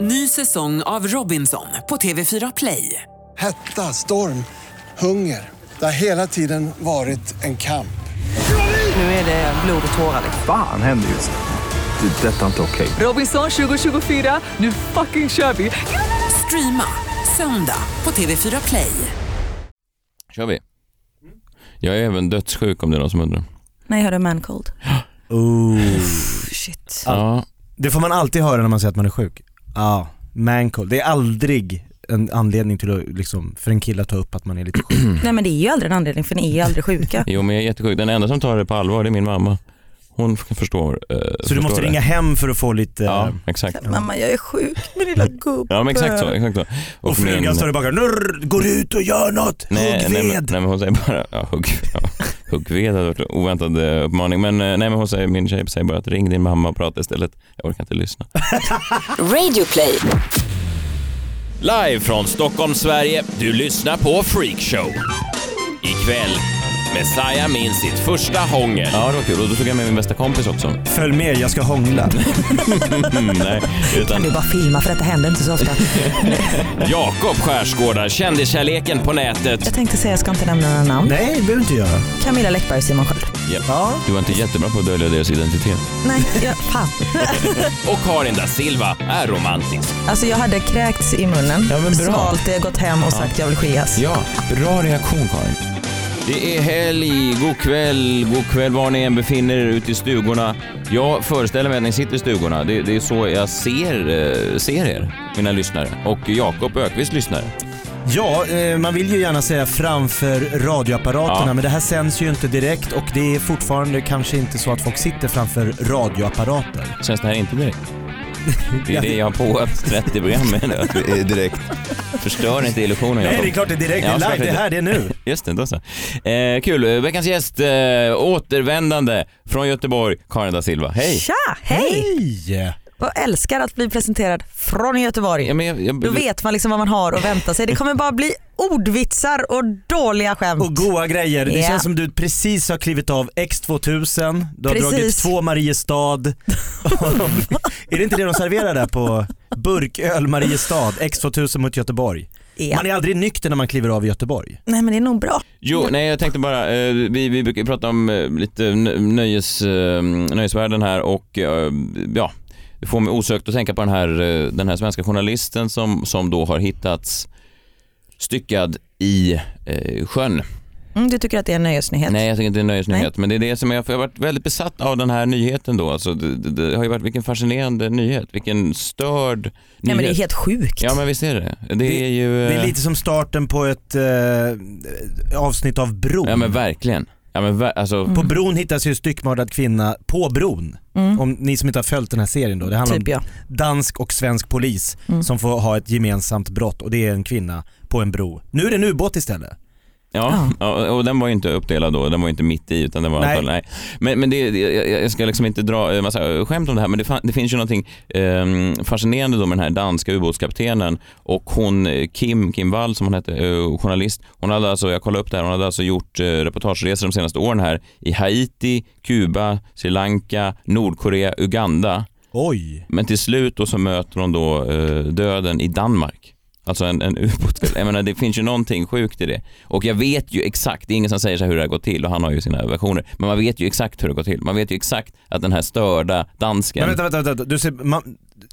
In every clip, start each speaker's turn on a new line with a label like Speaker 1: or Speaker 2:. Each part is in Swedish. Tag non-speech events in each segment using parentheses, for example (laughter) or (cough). Speaker 1: Ny säsong av Robinson på TV4 Play.
Speaker 2: Hetta, storm, hunger. Det har hela tiden varit en kamp.
Speaker 1: Nu är det blod och tårar.
Speaker 3: Fan händer just nu. Det. är Detta är inte okej.
Speaker 1: Robinson 2024, nu fucking kör vi! Streama söndag på TV4 Play.
Speaker 4: Kör vi? Jag är även dödssjuk om det är någon som undrar.
Speaker 5: Nej, hörde
Speaker 4: (gasps)
Speaker 5: man cold.
Speaker 6: Ooh.
Speaker 5: Shit.
Speaker 4: Ja,
Speaker 6: Det får man alltid höra när man säger att man är sjuk. Ja, mancold. Det är aldrig en anledning till att, liksom, för en kille att ta upp att man är (clears throat) lite sjuk.
Speaker 4: Mm.
Speaker 5: Nej men det är ju aldrig en anledning för ni är ju aldrig sjuka.
Speaker 4: jo men jag är jättesjuk. Den enda som tar det på allvar det är min mamma. Hon f- förstår. Eh,
Speaker 6: Så du måste
Speaker 4: förstår det.
Speaker 6: ringa hem för att få
Speaker 4: (laughs)
Speaker 6: lite...
Speaker 4: Ja, exakt.
Speaker 5: Mamma jag är sjuk, min lilla gubbe.
Speaker 4: Ja men exakt så. Exakt så.
Speaker 6: Och
Speaker 4: min-
Speaker 6: frugan står i bakgrunden, går ut och gör något,
Speaker 4: Nej,
Speaker 6: hugg
Speaker 4: nej, men-
Speaker 6: ved.
Speaker 4: nej men hon säger bara, ja, hugg, ja, huggved hade varit en oväntad eh, uppmaning. Men eh, nej men hon säger, min tjej säger bara att ring din mamma och prata istället. Jag orkar inte lyssna.
Speaker 7: Radioplay.
Speaker 4: Live från Stockholm, Sverige. Du lyssnar på Freakshow. Ikväll, Messiah minns sitt första hångel. Ja, det var kul. Och då tog jag med min bästa kompis (laughs) också.
Speaker 6: Följ med, jag ska (laughs) hångla.
Speaker 4: Mm, nej, utan
Speaker 5: Du bara filma för detta händer inte
Speaker 4: (laughs)
Speaker 5: så ofta.
Speaker 4: Jakob Skärsgårdar, kändiskärleken på nätet.
Speaker 5: Jag tänkte säga jag ska inte nämna några namn.
Speaker 6: nej, det behöver du inte göra.
Speaker 5: Camilla Läckberg och Simon Sköld.
Speaker 6: Ja.
Speaker 4: Du var inte jättebra på att dölja deras identitet.
Speaker 5: Nej, jag, fan.
Speaker 4: Och Karin da Silva är romantisk.
Speaker 5: Alltså jag hade kräkts i munnen,
Speaker 4: Ja, men bra.
Speaker 5: svalt det, gått hem och sagt jag vill skiljas.
Speaker 4: Ja, bra reaktion Karin. Det är helg, god kväll, god kväll var ni än befinner er ute i stugorna. Jag föreställer mig att ni sitter i stugorna. Det, det är så jag ser, eh, ser er, mina lyssnare. Och Jakob Ökvist lyssnare.
Speaker 6: Ja, eh, man vill ju gärna säga framför radioapparaterna
Speaker 4: Ja.
Speaker 6: men det här sänds ju inte direkt och det är fortfarande kanske inte så att folk sitter framför radioapparater.
Speaker 4: Känns det här inte direkt? Det är det jag har påhäftat i programmet nu, att (laughs) det är direkt. Förstör inte illusionen Jakob.
Speaker 6: Nej det är klart det är direkt,
Speaker 4: Ja,
Speaker 6: det är
Speaker 4: klart
Speaker 6: live, det är här, det är nu.
Speaker 4: Just det, då så. Eh, kul, Eh, veckans gäst, eh, återvändande från Göteborg, Karin da Silva. Hej!
Speaker 5: Tja, hej!
Speaker 6: Hej!
Speaker 5: Jag älskar att bli presenterad från Göteborg.
Speaker 4: Ja, men jag, jag,
Speaker 5: Då vet man liksom vad man har att vänta sig. Det kommer bara bli ordvitsar och dåliga skämt.
Speaker 6: Och goa grejer. Det
Speaker 5: Ja.
Speaker 6: känns som du precis har klivit av X2000, du har
Speaker 5: Precis.
Speaker 6: dragit två Mariestad.
Speaker 5: (laughs)
Speaker 6: är det inte det de serverar där på burköl Mariestad, X2000 mot Göteborg?
Speaker 5: Ja.
Speaker 6: Man är aldrig nykter när man kliver av i Göteborg.
Speaker 5: Nej men det är nog bra.
Speaker 4: Jo, nej jag tänkte bara, eh, vi, vi brukar ju prata om eh, lite nö- nöjes, eh, nöjesvärlden här och eh, ja, det får mig osökt att tänka på den här, eh, den här svenska journalisten som, som då har hittats styckad i eh, sjön.
Speaker 5: Mm, du tycker att det är en nöjesnyhet?
Speaker 4: Nej, jag tycker inte det är en nöjesnyhet, men det är det som jag, jag har varit väldigt besatt av den här nyheten då. Alltså, det, det, det har ju varit, vilken fascinerande nyhet, vilken störd nyhet.
Speaker 5: Nej men det är helt sjukt.
Speaker 4: Ja men visst är det det. Det är ju...
Speaker 6: Det
Speaker 4: eh,
Speaker 6: är lite som starten på ett eh, avsnitt av Bron.
Speaker 4: eh, Ja men verkligen. Ja men ver- alltså,
Speaker 5: Mm.
Speaker 6: På bron hittas ju en styckmördad kvinna på bron. Om ni som inte har följt den här serien då. Det handlar
Speaker 5: Typ, ja. Mm.
Speaker 6: om dansk och svensk polis som får ha ett gemensamt brott och det är en kvinna på en bro. Nu är det en ubåt istället.
Speaker 4: Ja, ja, och den var ju inte uppdelad då, den var ju inte mitt i utan den var
Speaker 6: Nej.
Speaker 4: antagligen- nej. Men, men det, det- jag jag ska liksom inte dra eh, massa skämt om det här men det, fan- det finns ju någonting ehm, fascinerande då med den här danska ubåtskaptenen och hon eh, Kim, Kim Wall som hon hette, eh, journalist. Hon hade alltså, jag kollade upp det här, hon hade alltså gjort eh, reportageresor de senaste åren här i Haiti, Kuba, Sri Lanka, Nordkorea, Uganda.
Speaker 6: Oj.
Speaker 4: Men till slut då så möter hon då eh, döden i Danmark. Alltså en, en ubåt. (laughs) Jag menar det finns ju någonting sjukt i det. Och jag vet ju exakt, det är ingen som säger så här hur det har gått till och han har ju sina versioner. Men man vet ju exakt hur det har gått till. Man vet ju exakt att den här störda dansken...
Speaker 6: Men vänta, vänta, vänta. Du ser, man,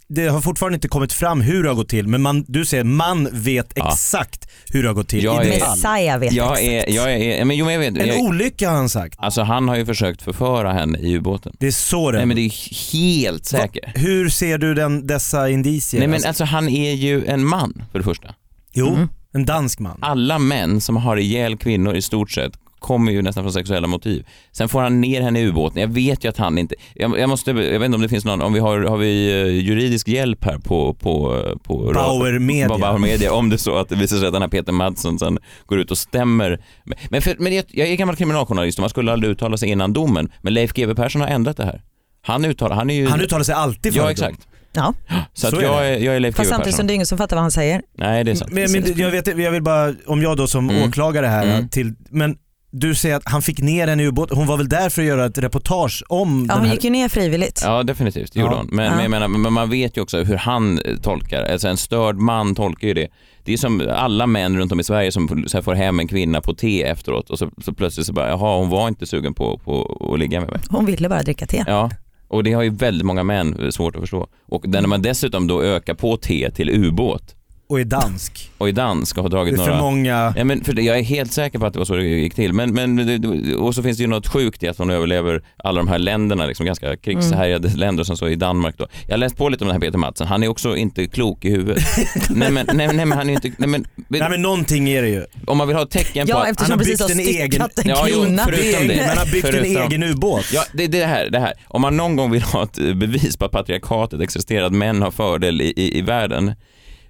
Speaker 6: det har fortfarande inte kommit fram hur det har gått till men man, du säger man vet
Speaker 4: Ja.
Speaker 6: exakt hur det har gått till
Speaker 4: Jag
Speaker 6: i
Speaker 4: är-
Speaker 6: detalj.
Speaker 5: Messiah vet
Speaker 4: jag
Speaker 5: exakt.
Speaker 4: är, jag är, men jo men jag vet.
Speaker 6: En
Speaker 4: Jag,
Speaker 6: olycka har han sagt.
Speaker 4: alltså han har ju försökt förföra henne i ubåten.
Speaker 6: Det är så det
Speaker 4: Nej men det är helt säker.
Speaker 6: Hur ser du den, dessa indicier?
Speaker 4: Nej men Mm. alltså han är ju en man för det första.
Speaker 6: Jo, en dansk man.
Speaker 4: alla män som har ihjäl kvinnor i stort sett kommer ju nästan från sexuella motiv. Sen får han ner henne i ubåten. Jag vet ju att han inte... Jag, jag, måste, jag vet inte om det finns någon... Om vi har, har vi eh, juridisk hjälp här på... på, på
Speaker 6: Bauer Media.
Speaker 4: På Bauer Media. Om det är så att det visar sig att den här Peter Madsen sen går ut och stämmer. Men- Men, för, men jag, jag är gammal kriminaljournalist och man skulle aldrig uttala sig innan domen. Men Leif GW Persson har ändrat det här. Han uttalar... Han är ju...
Speaker 6: Han uttalar sig alltid för
Speaker 4: Ja
Speaker 6: dem.
Speaker 4: exakt.
Speaker 5: Ja.
Speaker 4: Så,
Speaker 6: Så
Speaker 4: att
Speaker 6: är
Speaker 4: jag,
Speaker 6: det.
Speaker 4: är, jag är Leif
Speaker 5: Fast
Speaker 4: GW
Speaker 5: samtidigt som
Speaker 4: Persson.
Speaker 5: det är ingen som fattar vad han säger.
Speaker 4: Nej det är sant. Mm.
Speaker 6: Men, men jag, vet, jag vill bara, om jag då som åklagare här, till, men du säger att han fick ner henne i ubåt. Hon var väl där för att göra ett reportage om
Speaker 5: Ja,
Speaker 6: den
Speaker 5: hon
Speaker 6: här...
Speaker 5: gick ju ner frivilligt.
Speaker 4: Ja, definitivt. Det gjorde
Speaker 6: Ja.
Speaker 4: hon. Men, men jag menar, men man vet ju också hur han eh, tolkar Alltså en störd man tolkar ju det. Det är som alla män runt om i Sverige som så här, får hem en kvinna på te efteråt och så, så plötsligt så bara, jaha, hon var inte sugen på, på att ligga med mig.
Speaker 5: Hon ville bara dricka te.
Speaker 4: Ja. Och det har ju väldigt många män eh, svårt att förstå. Och när man dessutom då ökar på te till ubåt
Speaker 6: Och är dansk.
Speaker 4: och i dansk och har
Speaker 6: Det
Speaker 4: dragit
Speaker 6: är för
Speaker 4: några...
Speaker 6: många...
Speaker 4: Ja, men för det, jag är helt säker på att det var så det gick till. Men, men, det- och så finns det ju något sjukt i att hon överlever alla de här länderna, liksom ganska krigshärjade
Speaker 6: Mm.
Speaker 4: länder som så i Danmark då. Jag har läst på lite om den här Peter Madsen, han är också inte klok i
Speaker 6: (laughs)
Speaker 4: huvudet. nej, men, nej, nej men han är inte, nej, men,
Speaker 6: Nej men någonting är det ju.
Speaker 4: om man vill ha tecken på
Speaker 5: Ja,
Speaker 4: att,
Speaker 5: eftersom
Speaker 6: har
Speaker 5: hon precis har
Speaker 6: byggt en egen-
Speaker 5: styckat en
Speaker 4: Ja, jo,
Speaker 5: kvinna.
Speaker 4: förutom det.
Speaker 6: Man har byggt en
Speaker 4: Förutom-
Speaker 6: egen ubåt.
Speaker 4: Ja, det, det, här, det här. Om man någon gång vill ha ett eh, bevis på att patriarkatet existerar, att män har fördel i, i, i världen.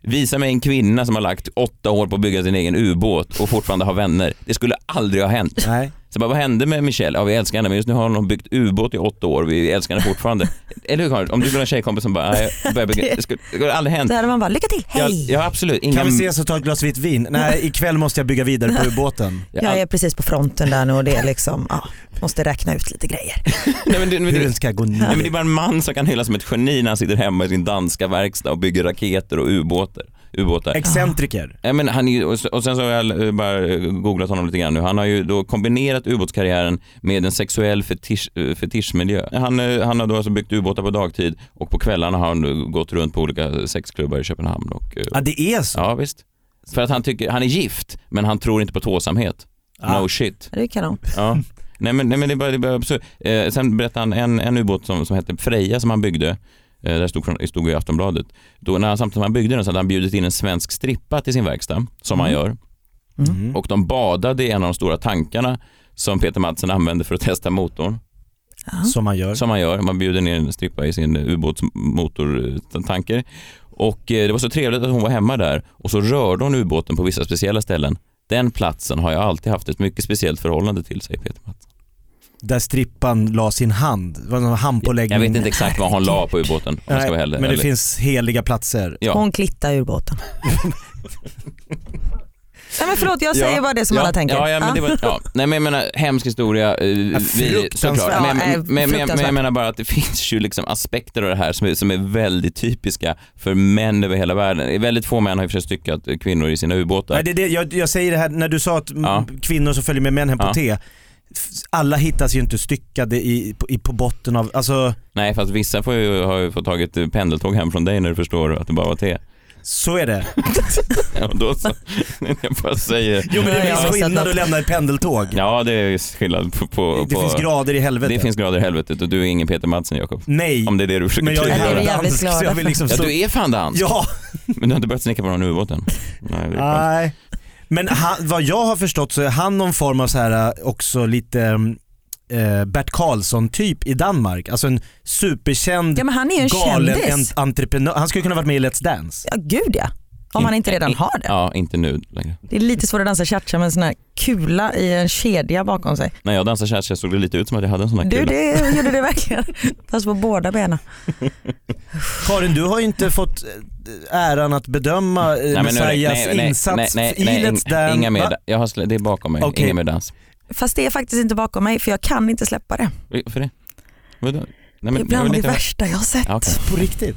Speaker 4: Visa mig en kvinna som har lagt åtta år på att bygga sin egen ubåt och fortfarande har vänner. Det skulle aldrig ha hänt.
Speaker 6: Nej.
Speaker 4: Så bara, vad hände med Michelle? Ja, vi älskar henne, men just nu har hon byggt ubåt i åtta år och vi älskar henne fortfarande. Eller hur Karin? Om du blir en tjejkompis som bara, nej, jag börjar bygga. Det skulle, det skulle aldrig hänt.
Speaker 5: Där hade man bara, lycka till,
Speaker 4: Jag,
Speaker 5: hej!
Speaker 4: jag har absolut inga...
Speaker 6: Kan vi ses och ta ett glas vitt vin?
Speaker 5: (laughs)
Speaker 6: Nej, ikväll måste jag bygga vidare på ubåten.
Speaker 4: jag-
Speaker 5: Jag är precis på fronten där nu och det är liksom, ja, måste räkna ut lite grejer.
Speaker 4: nej, men, det- men,
Speaker 6: Hur
Speaker 4: det,
Speaker 6: den ska gå
Speaker 4: nej, men det är
Speaker 6: ner.
Speaker 4: bara en man som kan hyllas som ett geni när han sitter hemma i sin danska verkstad och bygger raketer och ubåtar. ubåtar.
Speaker 6: Excentriker.
Speaker 4: Ja, men han är, ju- och och sen så har jag eh, bara eh, googlat honom lite grann nu. Han har ju då kombinerat ubåtskarriären med en sexuell fetisch, eh, fetischmiljö. Han, eh, han har då alltså byggt ubåtar på dagtid och på kvällarna har han eh, gått runt på olika sexklubbar i Köpenhamn. Och, eh,
Speaker 6: Ja det är så.
Speaker 4: ja visst. För att han tycker, han är gift men han tror inte på tåsamhet. No shit.
Speaker 5: Det är kanon.
Speaker 4: Ja. nej, men, nej men det är bara, det är bara absurt. Eh, sen berättade han en, en ubåt som, som hette Freja som han byggde. Eh, där stod, från, stod i Aftonbladet. Då, när han, samtidigt som han byggde den så hade han bjudit in en svensk strippa till sin verkstad, som han gör. Och de badade i en av de stora tankarna som Peter Madsen använde för att testa motorn.
Speaker 6: Som man gör.
Speaker 4: Som man gör, man bjuder ner en strippa i sin ubåtsmotortanker. Och eh, det var så trevligt att hon var hemma där och så rörde hon ubåten på vissa speciella ställen. Den platsen har jag alltid haft ett mycket speciellt förhållande till, säger Peter Madsen.
Speaker 6: Där strippan la sin hand. Det var någon handpåläggning.
Speaker 4: Jag vet inte exakt vad han la på ubåten om jag
Speaker 6: Nej,
Speaker 4: ska vara heller.
Speaker 6: men det
Speaker 4: eller-
Speaker 6: finns heliga platser.
Speaker 4: Ja.
Speaker 5: Hon klittar ur båten. Nej men förlåt, jag säger bara det som
Speaker 4: ja.
Speaker 5: alla tänker.
Speaker 4: Ja, ja, men det var,
Speaker 5: (laughs)
Speaker 4: ja. Nej men jag menar hemsk historia, eh, vi,
Speaker 6: fruktansvärt.
Speaker 4: såklart.
Speaker 5: Ja,
Speaker 4: Men,
Speaker 5: eh,
Speaker 4: men, men, men,
Speaker 5: fruktansvärt.
Speaker 4: jag menar bara att det (laughs) finns ju liksom aspekter av det här som är, som är väldigt typiska för män över hela världen. Väldigt få män har ju försökt styckat kvinnor i sina ubåtar.
Speaker 6: Nej, det, är det, jag, jag säger det här, när du sa att m-
Speaker 4: Ja.
Speaker 6: kvinnor som följer med män hem på
Speaker 4: Ja.
Speaker 6: te, f- alla hittas ju inte styckade i, på, i, på botten av, alltså
Speaker 4: Nej, fast vissa får ju, har ju fått tagit eh, pendeltåg hem från dig när du förstår att det bara var te.
Speaker 6: så är det.
Speaker 4: Ja, (laughs) Och då så, jag bara säger.
Speaker 6: Jo men
Speaker 5: Ja,
Speaker 6: det är en
Speaker 5: jag har
Speaker 6: viss
Speaker 5: sett
Speaker 6: skillnad
Speaker 5: något.
Speaker 6: att lämna ett pendeltåg.
Speaker 4: Ja, det är skillnad på... på,
Speaker 6: det
Speaker 4: på
Speaker 6: finns grader i helvete.
Speaker 4: det finns grader i helvetet och du är ingen Peter Madsen, Jakob.
Speaker 6: Nej,
Speaker 4: Om det är det du försöker
Speaker 6: men jag är
Speaker 5: Nej, det är
Speaker 6: här
Speaker 5: vi jävligt
Speaker 6: dansk så
Speaker 5: glada
Speaker 6: jag vill liksom
Speaker 4: Ja,
Speaker 6: slå...
Speaker 4: du är fan dansk.
Speaker 6: Ja!
Speaker 4: Men du har inte börjat snicka på någon ubåten? Nej, det är skönt.
Speaker 6: Nej. Men han, vad jag har förstått så är han någon form av så här eh, också lite eh, Bert Karlsson-typ i Danmark. Alltså en superkänd,
Speaker 5: Ja, men han är ju en
Speaker 6: galen
Speaker 5: kändis.
Speaker 6: en- entreprenör. Han skulle kunna varit med i Let's Dance.
Speaker 5: Ja gud ja. Om han inte redan har det.
Speaker 4: Ja, inte nu längre.
Speaker 5: Det är lite svårt att dansa cha-cha med en sån här kula i en kedja bakom sig.
Speaker 4: När jag dansade cha-cha såg det lite ut som att jag hade en sån här
Speaker 5: Du
Speaker 4: kula. (laughs)
Speaker 5: det gjorde det verkligen. Fast på båda benen.
Speaker 6: Karin, du har ju inte fått eh, äran att bedöma eh,
Speaker 4: nu-
Speaker 6: Messias insats i Let's Dance.
Speaker 4: inga mer,
Speaker 6: Va?
Speaker 4: da- jag har slä, det är bakom mig,
Speaker 6: Okej.
Speaker 4: inga mer dans.
Speaker 5: Fast det är faktiskt inte bakom mig för jag kan inte släppa det.
Speaker 4: För det? Vadå? Nej,
Speaker 5: Det är bland det
Speaker 4: inte-
Speaker 5: värsta jag har sett.
Speaker 4: Ja, okej.
Speaker 6: På riktigt.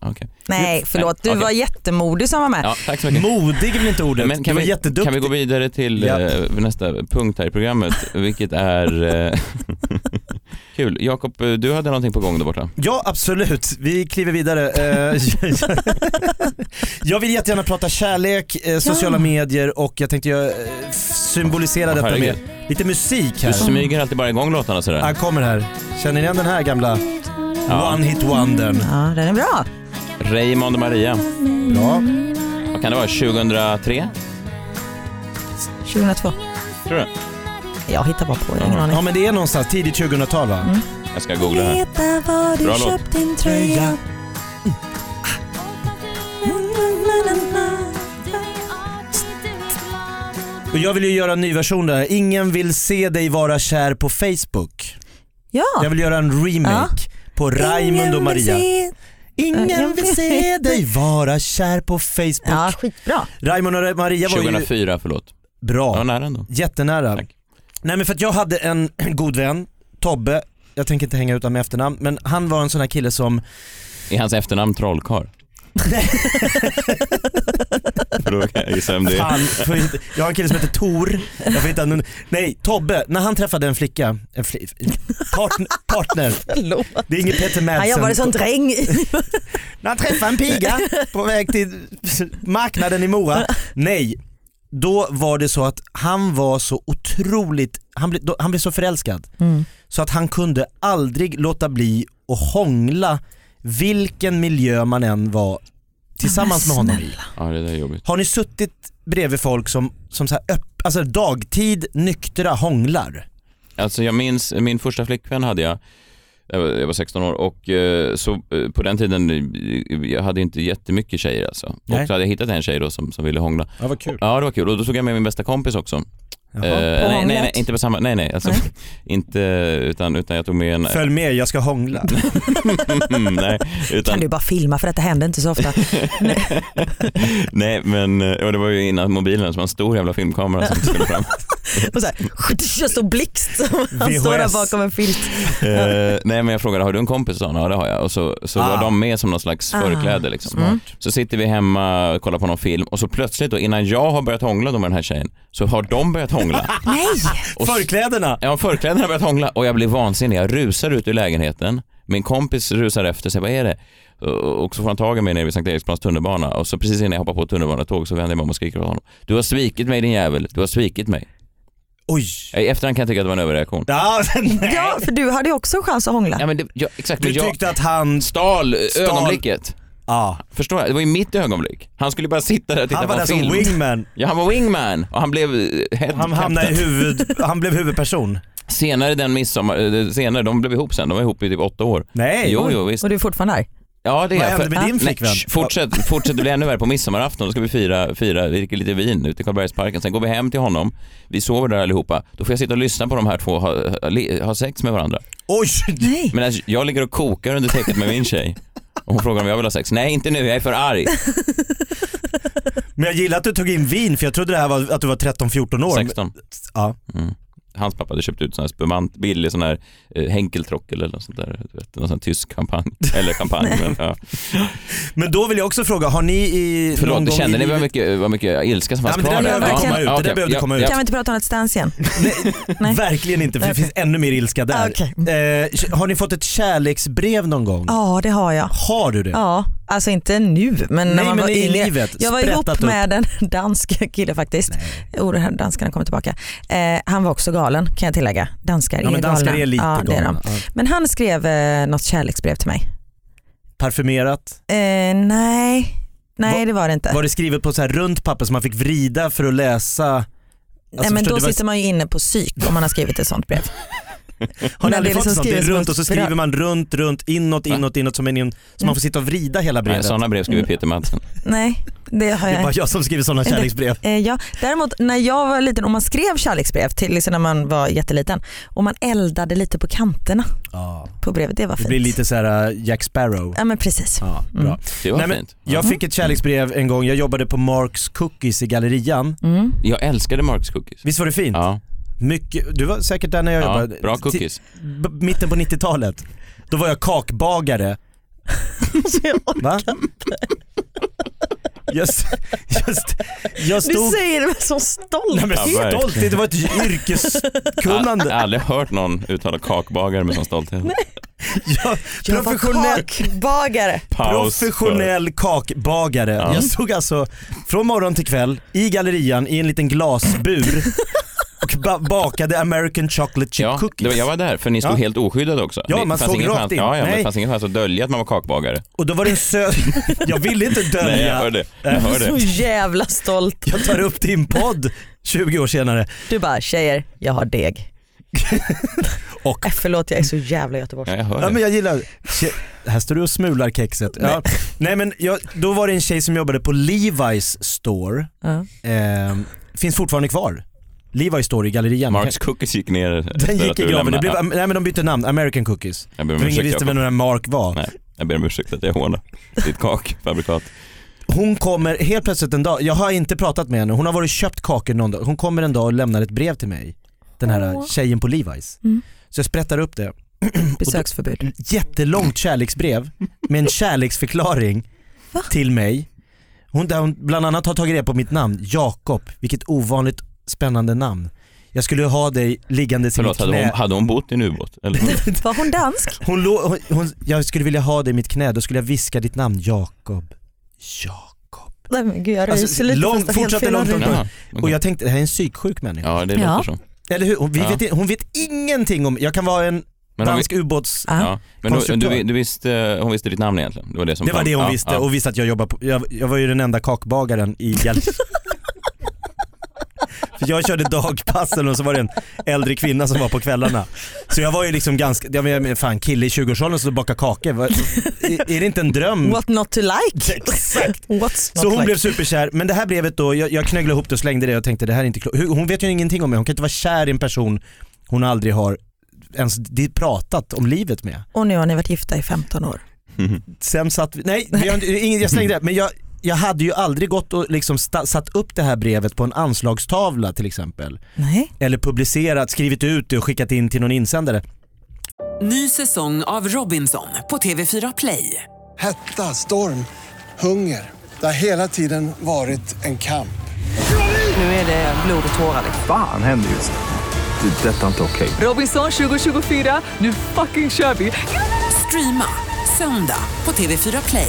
Speaker 4: okej.
Speaker 5: Nej förlåt, du
Speaker 4: Okej.
Speaker 5: var jättemodig som var med.
Speaker 4: Ja, tack så mycket.
Speaker 6: Modig är väl inte ordet?
Speaker 4: Men
Speaker 6: du
Speaker 4: kan,
Speaker 6: var
Speaker 4: vi,
Speaker 6: jätteduktig.
Speaker 4: kan vi gå vidare till
Speaker 6: Ja.
Speaker 4: eh, nästa punkt här i programmet, vilket är eh, (laughs) kul. Jakob, eh, du hade någonting på gång där borta.
Speaker 6: Ja absolut, vi kliver vidare. Eh, (laughs) jag vill jättegärna prata kärlek, eh, sociala
Speaker 5: Ja.
Speaker 6: medier och jag tänkte jag eh, f- symbolisera
Speaker 4: Åh,
Speaker 6: detta med
Speaker 4: herregud.
Speaker 6: lite musik
Speaker 4: Du
Speaker 6: här.
Speaker 4: smyger alltid bara igång låtarna sådär.
Speaker 6: Han kommer här. Känner ni igen den här gamla
Speaker 4: Ja.
Speaker 6: One Hit Wondern?
Speaker 5: Ja, den är bra.
Speaker 4: Raymond och Maria,
Speaker 6: Bra.
Speaker 4: vad kan det vara, 2003?
Speaker 5: 2002.
Speaker 4: Tror du?
Speaker 5: Jag hittar bara på, jag har ingen aning.
Speaker 6: Ja men det är någonstans tidigt 2000-tal va?
Speaker 4: Jag ska googla här.
Speaker 5: Veta var du
Speaker 4: Bra låt.
Speaker 5: köpt din tröja. Mm.
Speaker 6: Och jag vill ju göra en ny version där. Ingen vill se dig vara kär på Facebook. Jag
Speaker 5: Ja.
Speaker 6: vill göra en remake på Raymond och Maria. Ingen vill se dig vara kär på Facebook.
Speaker 5: ja, skitbra.
Speaker 6: Raymond och Maria var ju
Speaker 4: 2004, förlåt.
Speaker 6: bra.
Speaker 4: Ja, nära ändå.
Speaker 6: Jättenära.
Speaker 4: Tack.
Speaker 6: Nej men för att jag hade en (clears throat) god vän, Tobbe, jag tänker inte hänga ut honom med efternamn, men han var en sån här kille som,
Speaker 4: Är hans efternamn (laughs) trollkarl? För då kan jag gissa vem det är.
Speaker 6: fan, får jag inte- jag har en kille som heter Tor, jag får inte han, nej Tobbe, när han träffade en flicka, en fli, partner, partner,
Speaker 5: Förlåt.
Speaker 6: det är inget Peter Madsen.
Speaker 5: Han jobbade som dräng. i-
Speaker 6: När han träffade en piga på väg till marknaden i Mora. Nej, då var det så att han var så otroligt, han blev, då- han blev så förälskad. Så att han kunde aldrig låta bli att hångla vilken miljö man än var tillsammans med honom i.
Speaker 4: Ja, det där är jobbigt.
Speaker 6: Har ni suttit bredvid folk som, som så här öpp, alltså dagtid nyktra hånglar?
Speaker 4: Alltså jag minns, min första flickvän hade jag, jag var, jag var 16 år och eh, så eh, på den tiden, eh, jag hade inte jättemycket tjejer alltså.
Speaker 6: Nej.
Speaker 4: Och så hade jag hittat en tjej då som, som ville hångla.
Speaker 6: Ja vad kul.
Speaker 4: Ja det var kul och då tog jag med min bästa kompis också. Eh, nej, nej, nej, inte på samma, nej nej, alltså, inte utan, utan jag tog med en,
Speaker 6: Följ med, jag ska hångla.
Speaker 4: Mm, nej,
Speaker 5: Kan
Speaker 4: utan,
Speaker 5: du bara filma för detta händer inte så ofta.
Speaker 4: nej men eh, och det var ju innan mobilen så var en stor jävla filmkamera som skulle
Speaker 5: (laughs)
Speaker 4: fram.
Speaker 5: Och så här, (laughs) en stor blixt som han står där
Speaker 6: VHS.
Speaker 5: bakom en filt.
Speaker 4: Eh, nej men jag frågade, har du en kompis? Och sa han, ja det har jag. Och så, så
Speaker 6: Ah.
Speaker 4: var de med som någon slags
Speaker 5: Ah,
Speaker 4: förkläde. Liksom. Så sitter vi hemma och kollar på någon film och så plötsligt då, innan jag har börjat hångla då med den här tjejen så har de börjat
Speaker 5: (laughs)
Speaker 4: hångla.
Speaker 6: (laughs)
Speaker 5: Nej!
Speaker 4: (laughs) Och s-
Speaker 6: Förklädena!
Speaker 4: Ja, förklädena har börjat hångla och jag blir vansinnig. Jag rusar ut ur lägenheten. Min kompis rusar efter sig, vad är det? Och och så får han tag i mig nere vid Sankt Eriksplans tunnelbana och så precis innan jag hoppar på ett tunnelbanetåg så vänder jag mig om och skriker åt honom. Du har svikit mig din jävel, du har svikit mig.
Speaker 6: Oj!
Speaker 4: I efterhand kan jag tycka att det var en överreaktion.
Speaker 6: Ja, (laughs) nej.
Speaker 5: Ja, för du hade ju också en chans att hångla.
Speaker 4: Ja, men det, ja, exakt,
Speaker 6: Du
Speaker 4: men jag
Speaker 6: tyckte att han,
Speaker 4: stal eh,
Speaker 6: Stal-
Speaker 4: ögonblicket.
Speaker 6: ja.
Speaker 4: Förstår jag? Det var ju mitt ögonblick. Han skulle bara sitta där och titta
Speaker 6: Han
Speaker 4: på
Speaker 6: var där
Speaker 4: en film.
Speaker 6: som wingman.
Speaker 4: Ja, han var wingman och han blev eh, head
Speaker 6: Han, hamnade i
Speaker 4: captain.
Speaker 6: huvud, han blev huvudperson.
Speaker 4: Senare den midsommar, eh, senare, de blev ihop sen, de var ihop i typ åtta år.
Speaker 6: Nej.
Speaker 4: Jo, jo, visst.
Speaker 5: Och du är fortfarande arg.
Speaker 4: Ja, det är
Speaker 6: Vad
Speaker 4: jag.
Speaker 6: hände med
Speaker 4: För-
Speaker 6: din
Speaker 4: Nej,
Speaker 6: flickvän?
Speaker 4: shh, Fortsätt, fortsätt bli ännu värre på midsommarafton, då ska vi fira, fira, vi dricker lite vin ute i Karlbergsparken, sen går vi hem till honom, vi sover där allihopa, då får jag sitta och lyssna på de här två ha, ha, li- ha sex med varandra.
Speaker 6: Oj!
Speaker 5: Nej.
Speaker 4: Medan alltså, jag ligger och kokar under täcket med min tjej. Och hon frågar om jag vill ha sex. Nej, inte nu, jag är för arg.
Speaker 6: Men jag gillar att du tog in vin för jag trodde det här var att du var 13-14 år.
Speaker 4: 16.
Speaker 6: Ja.
Speaker 4: Hans pappa hade köpt ut sån här spumant, billig sån här eh, Henkeltrockel eller något sånt där, du vet, någon sån här tysk kampanj. Eller kampanj, men ja.
Speaker 6: Men då vill jag också fråga, har ni i någon
Speaker 4: Förlåt,
Speaker 6: gång
Speaker 4: kände
Speaker 6: i
Speaker 4: ni vad
Speaker 6: livet-
Speaker 4: mycket, vad mycket ilska som
Speaker 6: Ja,
Speaker 4: fanns
Speaker 6: men det
Speaker 4: kvar
Speaker 6: där behövde
Speaker 5: Ja,
Speaker 6: komma ut, det
Speaker 4: okej.
Speaker 6: där behövde
Speaker 4: Ja,
Speaker 6: komma ut.
Speaker 5: Kan vi inte prata om Let's Dance
Speaker 6: (laughs)
Speaker 5: igen? Nej.
Speaker 6: Verkligen inte för det
Speaker 5: Okej. Ah,
Speaker 6: finns ännu mer ilska där.
Speaker 5: Okej. Mm.
Speaker 6: Eh, har ni fått ett kärleksbrev någon gång?
Speaker 5: Ja, det har jag.
Speaker 6: Har du det?
Speaker 5: Ja, alltså inte nu men när
Speaker 6: Nej,
Speaker 5: man
Speaker 6: men
Speaker 5: var
Speaker 6: i
Speaker 5: yngre.
Speaker 6: livet,
Speaker 5: Jag var
Speaker 6: sprättat
Speaker 5: ihop
Speaker 6: upp.
Speaker 5: med en (laughs) dansk kille faktiskt. Oh, det här danskarna kommer tillbaka. Eh, han var också galen kan jag tillägga. Danskar
Speaker 6: Ja,
Speaker 5: är
Speaker 6: men danskar
Speaker 5: galna.
Speaker 6: är lite
Speaker 5: ja, det är
Speaker 6: galna.
Speaker 5: de.
Speaker 6: Ja.
Speaker 5: Men han skrev eh, något kärleksbrev till mig.
Speaker 6: Parfymerat.
Speaker 5: Eh, nej, nej
Speaker 6: Va-
Speaker 5: det var det inte.
Speaker 6: Var det skrivet på så här runt papper som man fick vrida för att läsa?
Speaker 5: nej, men
Speaker 6: alltså, förstår
Speaker 5: då
Speaker 6: du vad-
Speaker 5: sitter man ju inne på psyk om man har skrivit ett sånt brev.
Speaker 6: (laughs) Har ni
Speaker 5: Men
Speaker 6: aldrig
Speaker 5: det är
Speaker 6: fått
Speaker 5: liksom
Speaker 6: sånt? Det är
Speaker 5: skrivet som
Speaker 6: runt
Speaker 5: ett
Speaker 6: och så skriver
Speaker 5: brev.
Speaker 6: man runt, runt, inåt, inåt, inåt som en, in- så man får sitta och vrida hela
Speaker 4: Nej,
Speaker 6: brevet.
Speaker 4: sådana brev
Speaker 6: Mm.
Speaker 4: skriver Peter Madsen.
Speaker 5: nej, det har
Speaker 6: Det är
Speaker 5: jag
Speaker 6: bara jag som skriver sådana kärleksbrev.
Speaker 5: Eh, (laughs) ja. Däremot när jag var liten och man skrev kärleksbrev till liksom när man var jätteliten och man eldade lite på kanterna på brevet. Det var
Speaker 6: Det
Speaker 5: fint.
Speaker 6: blir lite så här äh, Jack Sparrow.
Speaker 5: Ja Mm. men precis.
Speaker 6: Ja, bra.
Speaker 4: Det var
Speaker 6: Nej, men
Speaker 4: fint.
Speaker 6: jag fick ett kärleksbrev en gång, jag jobbade på Marks Cookies i gallerian.
Speaker 5: Mm.
Speaker 4: Jag älskade Marks Cookies.
Speaker 6: Visst var det fint?
Speaker 4: Ja,
Speaker 6: Mycket, du var säkert där när jag
Speaker 4: ja,
Speaker 6: jobbade.
Speaker 4: bra
Speaker 6: Ti-
Speaker 4: cookies.
Speaker 6: b- mitten på 90-talet. Då var jag kakbagare.
Speaker 5: (laughs)
Speaker 6: Va? Just, just, jag
Speaker 5: Du
Speaker 6: stod...
Speaker 5: säger det med sån
Speaker 6: Nej, men
Speaker 5: stolthet.
Speaker 4: Ja,
Speaker 6: stolt, det var ett
Speaker 4: Jag (laughs)
Speaker 6: yrkeskunnande.
Speaker 4: har aldrig hört någon uttala kakbagare med sån stolthet.
Speaker 6: Jag,
Speaker 5: Jag var
Speaker 6: professionell,
Speaker 5: kakbagare.
Speaker 4: Paus för-
Speaker 6: professionell kakbagare.
Speaker 4: Ja.
Speaker 6: Jag stod alltså från morgon till kväll i gallerian i en
Speaker 4: (laughs)
Speaker 6: liten glasbur och ba- bakade American chocolate chip
Speaker 4: Ja, det
Speaker 6: cookies.
Speaker 4: var, jag var där för ni stod
Speaker 6: Ja.
Speaker 4: helt oskyddade också.
Speaker 6: Ja,
Speaker 4: Det
Speaker 6: man
Speaker 4: fanns
Speaker 6: såg
Speaker 4: ingen
Speaker 6: rakt
Speaker 4: chans,
Speaker 6: in.
Speaker 4: Ja, ja, men
Speaker 6: Nej.
Speaker 4: det fanns ingen chans att dölja att man var kakbagare.
Speaker 6: Och då var det
Speaker 4: (laughs)
Speaker 6: en söt... jag ville inte dölja.
Speaker 4: Nej, jag hörde. Jag
Speaker 5: Så
Speaker 4: hörde.
Speaker 5: jävla stolt.
Speaker 6: Jag tar upp din podd 20 år senare
Speaker 5: Du bara tjejer, jag har deg.
Speaker 6: (laughs) och
Speaker 5: Äh, förlåt jag är så jävla
Speaker 4: Ja,
Speaker 5: göteborgsk.
Speaker 4: jag
Speaker 6: Ja, men
Speaker 4: hörde.
Speaker 6: jag gillar, Tje- här står du och smular kexet. Ja. Nej men jag, då var det en tjej som jobbade på Levi's store,
Speaker 5: Ja.
Speaker 6: Ehm, finns fortfarande kvar. Levi's store i gallerian.
Speaker 4: Marks Cookies gick ner. efter
Speaker 6: Den
Speaker 4: att
Speaker 6: gick
Speaker 4: du
Speaker 6: i graven, det
Speaker 4: lämnade.
Speaker 6: blev,
Speaker 4: Ja,
Speaker 6: nej men de bytte namn, American Cookies.
Speaker 4: jag ber om
Speaker 6: För ingen
Speaker 4: ursäkt,
Speaker 6: visste
Speaker 4: Jakob.
Speaker 6: vem den där Mark var.
Speaker 4: Nej, jag ber om ursäkt att jag hånar ditt kakfabrikat.
Speaker 6: Hon kommer helt plötsligt en dag, jag har inte pratat med henne, hon har varit och köpt kakor någon dag. Hon kommer en dag och lämnar ett brev till mig. den här
Speaker 5: Åh.
Speaker 6: tjejen på Levi's.
Speaker 5: Mm.
Speaker 6: Så jag sprättar upp det,
Speaker 5: Besöksförbud.
Speaker 6: jättelångt kärleksbrev med en kärleksförklaring
Speaker 5: Va?
Speaker 6: till mig. Hon, där hon bland annat har tagit reda på mitt namn, Jakob, vilket ovanligt spännande namn. Jag skulle ha dig liggandes i mitt
Speaker 4: Förlåt, hade hon,
Speaker 6: knä.
Speaker 4: hade hon bott i en ubåt? Eller?
Speaker 5: Var hon dansk?
Speaker 6: Hon lå, hon, hon, jag skulle vilja ha dig i mitt knä, då skulle jag viska ditt namn, Jakob. Jakob.
Speaker 5: Nej men gud jag ryser
Speaker 6: Alltså,
Speaker 5: lite.
Speaker 6: lång-
Speaker 5: fast det är helt
Speaker 6: fortsatte
Speaker 5: fel
Speaker 6: långt-
Speaker 5: ordning.
Speaker 4: Jaha,
Speaker 6: Och
Speaker 4: okej.
Speaker 6: jag tänkte, det här är en psyksjuk människa.
Speaker 4: Ja, det
Speaker 5: Ja.
Speaker 4: låter så.
Speaker 6: Eller hur? Hon, vi
Speaker 4: Ja.
Speaker 6: vet, hon vet ingenting om, jag kan vara en
Speaker 4: Men, hon,
Speaker 6: dansk ubåts...
Speaker 5: Ja.
Speaker 4: ja. men du,
Speaker 6: konstruktör.
Speaker 4: du, du visste, hon visste ditt namn egentligen? Det var det, som
Speaker 6: Det var
Speaker 4: fram-
Speaker 6: det hon
Speaker 4: ja,
Speaker 6: visste
Speaker 4: ja.
Speaker 6: och visste att jag jobbar på, jag, jag var ju den enda kakbagaren i Gäll...
Speaker 5: (laughs)
Speaker 6: För jag körde dagpassen och så var det en äldre kvinna som var på kvällarna. Så jag var ju liksom ganska, jag menar fan kille i 20-årsåldern som bakar kakor, vad- är, är det inte en dröm?
Speaker 5: What not to like?
Speaker 6: (laughs) Exakt.
Speaker 5: What's not
Speaker 6: Så hon
Speaker 5: like?
Speaker 6: blev superkär, men det här brevet då, jag, jag knögglade ihop det och slängde det och tänkte det här är inte klokt. Hur- Hon vet ju ingenting om mig, hon kan inte vara kär i en person hon aldrig har ens di- pratat om livet med.
Speaker 5: Och nu har ni varit gifta i 15 år.
Speaker 6: Sen satt vi, nej vi har, inte- ingen- jag slängde det, men jag, jag hade ju aldrig gått och liksom sta, satt upp det här brevet på en anslagstavla till exempel.
Speaker 5: Nej.
Speaker 6: Eller publicerat, skrivit ut det och skickat in till någon insändare.
Speaker 1: Ny säsong av Robinson på TV4 Play.
Speaker 2: Hetta, storm, hunger. Det har hela tiden varit en kamp.
Speaker 1: Nu är det blod och tårar. liksom.
Speaker 3: Fan händer just det. Det är detta inte okej.
Speaker 1: Robinson 2024, nu fucking kör vi! Streama söndag på TV4 Play.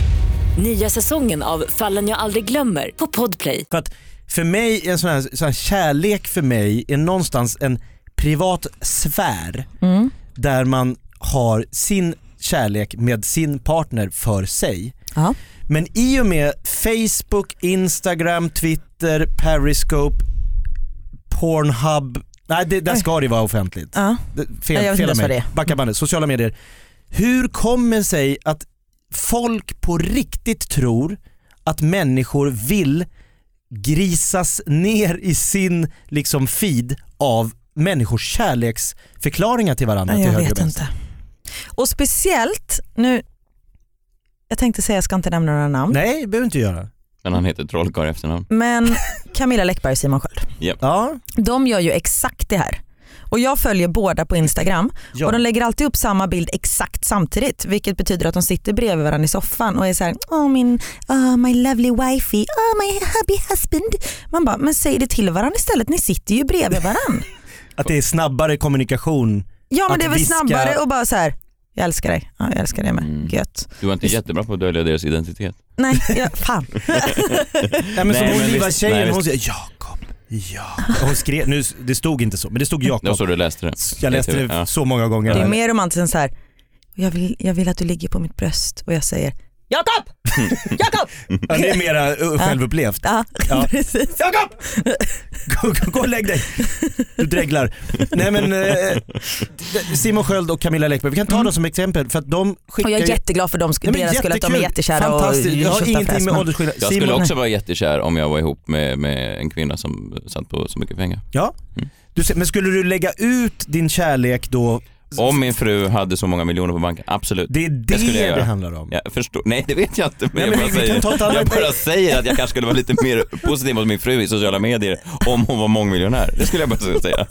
Speaker 7: Nya säsongen av Fallen jag aldrig glömmer på Podplay.
Speaker 6: För att för mig, en sån här, sån här kärlek för mig är någonstans en privat sfär där man har sin kärlek med sin partner för sig.
Speaker 5: Ja.
Speaker 6: Men i och med Facebook, Instagram, Twitter, Periscope, Pornhub, nej det, där ska det vara offentligt.
Speaker 5: Ja.
Speaker 6: Det-
Speaker 5: Nej, jag
Speaker 6: Fel,
Speaker 5: vet
Speaker 6: fel
Speaker 5: inte
Speaker 6: av
Speaker 5: ens vad det
Speaker 6: mig.
Speaker 5: är.
Speaker 6: Backa bandet, sociala medier. Hur kommer det sig att folk på riktigt tror att människor vill grisas ner i sin liksom feed av människors kärleksförklaringar till varandra
Speaker 5: Nej,
Speaker 6: till
Speaker 5: jag
Speaker 6: höger
Speaker 5: vet
Speaker 6: och vänster?
Speaker 5: inte. Och speciellt nu, jag tänkte säga jag ska inte nämna några namn,
Speaker 6: Nej, det behöver du inte göra.
Speaker 4: Men han heter Trollkarl i efternamn.
Speaker 6: (laughs)
Speaker 5: men Camilla Läckberg och Simon Sköld.
Speaker 6: Ja,
Speaker 5: De gör ju exakt det här. Och jag följer båda på Instagram
Speaker 6: ja.
Speaker 5: och de lägger alltid upp samma bild exakt samtidigt vilket betyder att de sitter bredvid varandra i soffan och är så här, oh min, oh, my lovely wifey, oh my hubby husband. Man bara, men säg det till varandra istället, ni sitter ju bredvid varandra.
Speaker 6: Att det är snabbare kommunikation
Speaker 5: ja men
Speaker 6: Att
Speaker 5: det är väl
Speaker 6: viska- Mm.
Speaker 5: snabbare och bara så här, jag älskar dig, ja, jag älskar dig med, gött.
Speaker 4: Du var inte jättebra på att dölja deras identitet.
Speaker 5: Nej, jag, fan.
Speaker 6: Nej men som
Speaker 4: Nej, men
Speaker 6: Oliva
Speaker 4: visst-
Speaker 6: tjejen,
Speaker 4: nej,
Speaker 6: hon säger Jakob, Jakob. Hon skrev, nu, det stod inte så, men det stod
Speaker 4: Det var
Speaker 6: Jakob.
Speaker 4: så du läste det.
Speaker 6: Jag läste det
Speaker 4: Ja.
Speaker 6: så många
Speaker 5: Det är
Speaker 6: gånger.
Speaker 5: mer romantiskt än så här, jag vill, jag vill att du ligger på mitt bröst och jag säger Jakob! Jakob!
Speaker 6: Ja, det är mera uh, självupplevt.
Speaker 5: Ja, (laughs)
Speaker 6: Ja.
Speaker 5: precis.
Speaker 6: Jakob! Gå, gå, gå och lägg dig. Du dreglar. Nej men eh, Simon Sköld och Camilla Läckberg, vi kan ta dem som exempel för att de skickar
Speaker 5: Och Mm. jag är
Speaker 6: ju-
Speaker 5: jätteglad för dem,
Speaker 6: Nej, men
Speaker 5: deras skull att de är
Speaker 6: jättekul.
Speaker 5: jättekära och
Speaker 6: Fantastiskt, jag har ingenting med åldersskillnad.
Speaker 4: Jag skulle
Speaker 6: Simon,
Speaker 4: också vara jättekär om jag var ihop med, med en kvinna som satt på så mycket pengar.
Speaker 6: ja?
Speaker 5: Mm.
Speaker 6: Du, ser- men skulle du lägga ut din kärlek då?
Speaker 4: Om min fru hade så många miljoner på banken, absolut.
Speaker 6: Det är det
Speaker 4: skulle jag
Speaker 6: det,
Speaker 4: göra.
Speaker 6: handlar om.
Speaker 4: Jag förstår. Nej det vet jag inte men, jag,
Speaker 6: Nej, men
Speaker 4: bara
Speaker 6: vi- vi kan ta ett
Speaker 4: säger,
Speaker 6: annat-
Speaker 4: jag bara säger att jag kanske skulle vara lite mer positiv mot min fru i sociala medier om hon var mångmiljonär. Det skulle jag bara
Speaker 6: (laughs)
Speaker 4: säga.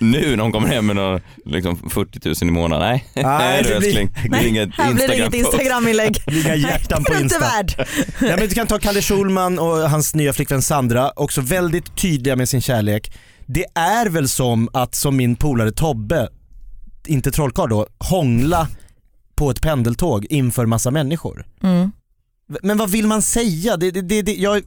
Speaker 4: Nu när hon kommer hem med några, liksom 40 000 i månaden, nej.
Speaker 6: Nej,
Speaker 4: du
Speaker 6: det blir-
Speaker 4: älskling, det blir inget
Speaker 5: Här blir det inget
Speaker 4: Instagram-post.
Speaker 5: (laughs) Instagram-inlägg.
Speaker 6: Inga hjärtan på
Speaker 5: Det är inte
Speaker 6: Insta.
Speaker 5: värd.
Speaker 6: Nej, men du kan ta Kalle Schulman och hans nya flickvän Sandra, också väldigt tydliga med sin kärlek. Det är väl som att, som min polare Tobbe, inte trollkarl då, hångla på ett pendeltåg inför massa människor.
Speaker 5: Mm.
Speaker 6: V- Men vad vill man säga? Det, det, det, det, jag,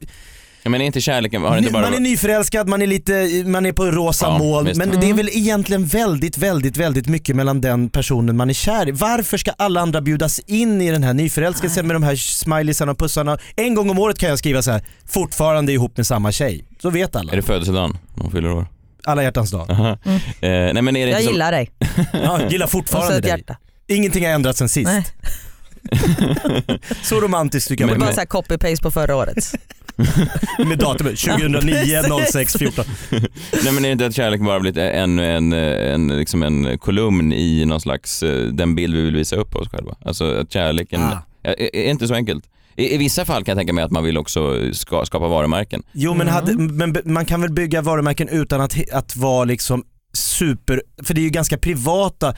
Speaker 4: Ja, men är inte kärleken, har det inte bara...
Speaker 6: man är nyförälskad, man är, lite, man är på rosa
Speaker 4: Ja,
Speaker 6: moln,
Speaker 4: visst.
Speaker 6: men det är
Speaker 5: Mm.
Speaker 6: väl egentligen väldigt, väldigt, väldigt mycket mellan den personen man är kär i. Varför ska alla andra bjudas in i den här nyförälskelsen med de här smileysarna och pussarna? En gång om året kan jag skriva så här: fortfarande ihop med samma tjej. Så vet alla.
Speaker 4: Är det födelsedagen? Hon fyller år.
Speaker 6: alla hjärtans dag.
Speaker 4: Aha. Eh, nej, men är det
Speaker 5: Jag
Speaker 4: inte så...
Speaker 5: gillar dig.
Speaker 6: Ja, gillar
Speaker 5: Och så
Speaker 6: fortfarande
Speaker 5: ett
Speaker 6: dig.
Speaker 5: hjärta.
Speaker 6: Ingenting har ändrats sen sist.
Speaker 5: Nej.
Speaker 6: Så romantiskt tycker jag
Speaker 5: Bara
Speaker 6: men,
Speaker 5: så här copy-paste på förra året.
Speaker 6: med datumet 2009 06 14.
Speaker 4: Nej men är det inte att kärlek bara blivit ännu en, en, liksom en kolumn i någon slags, eh, den bild vi vill visa upp oss själva? Alltså att kärleken,
Speaker 6: Ah.
Speaker 4: är, är- är inte så enkelt. I, I vissa fall kan jag tänka mig att man vill också ska, skapa varumärken.
Speaker 6: Jo men, hade, men b- man kan väl bygga varumärken utan att, he- att vara liksom super, för det är ju ganska privata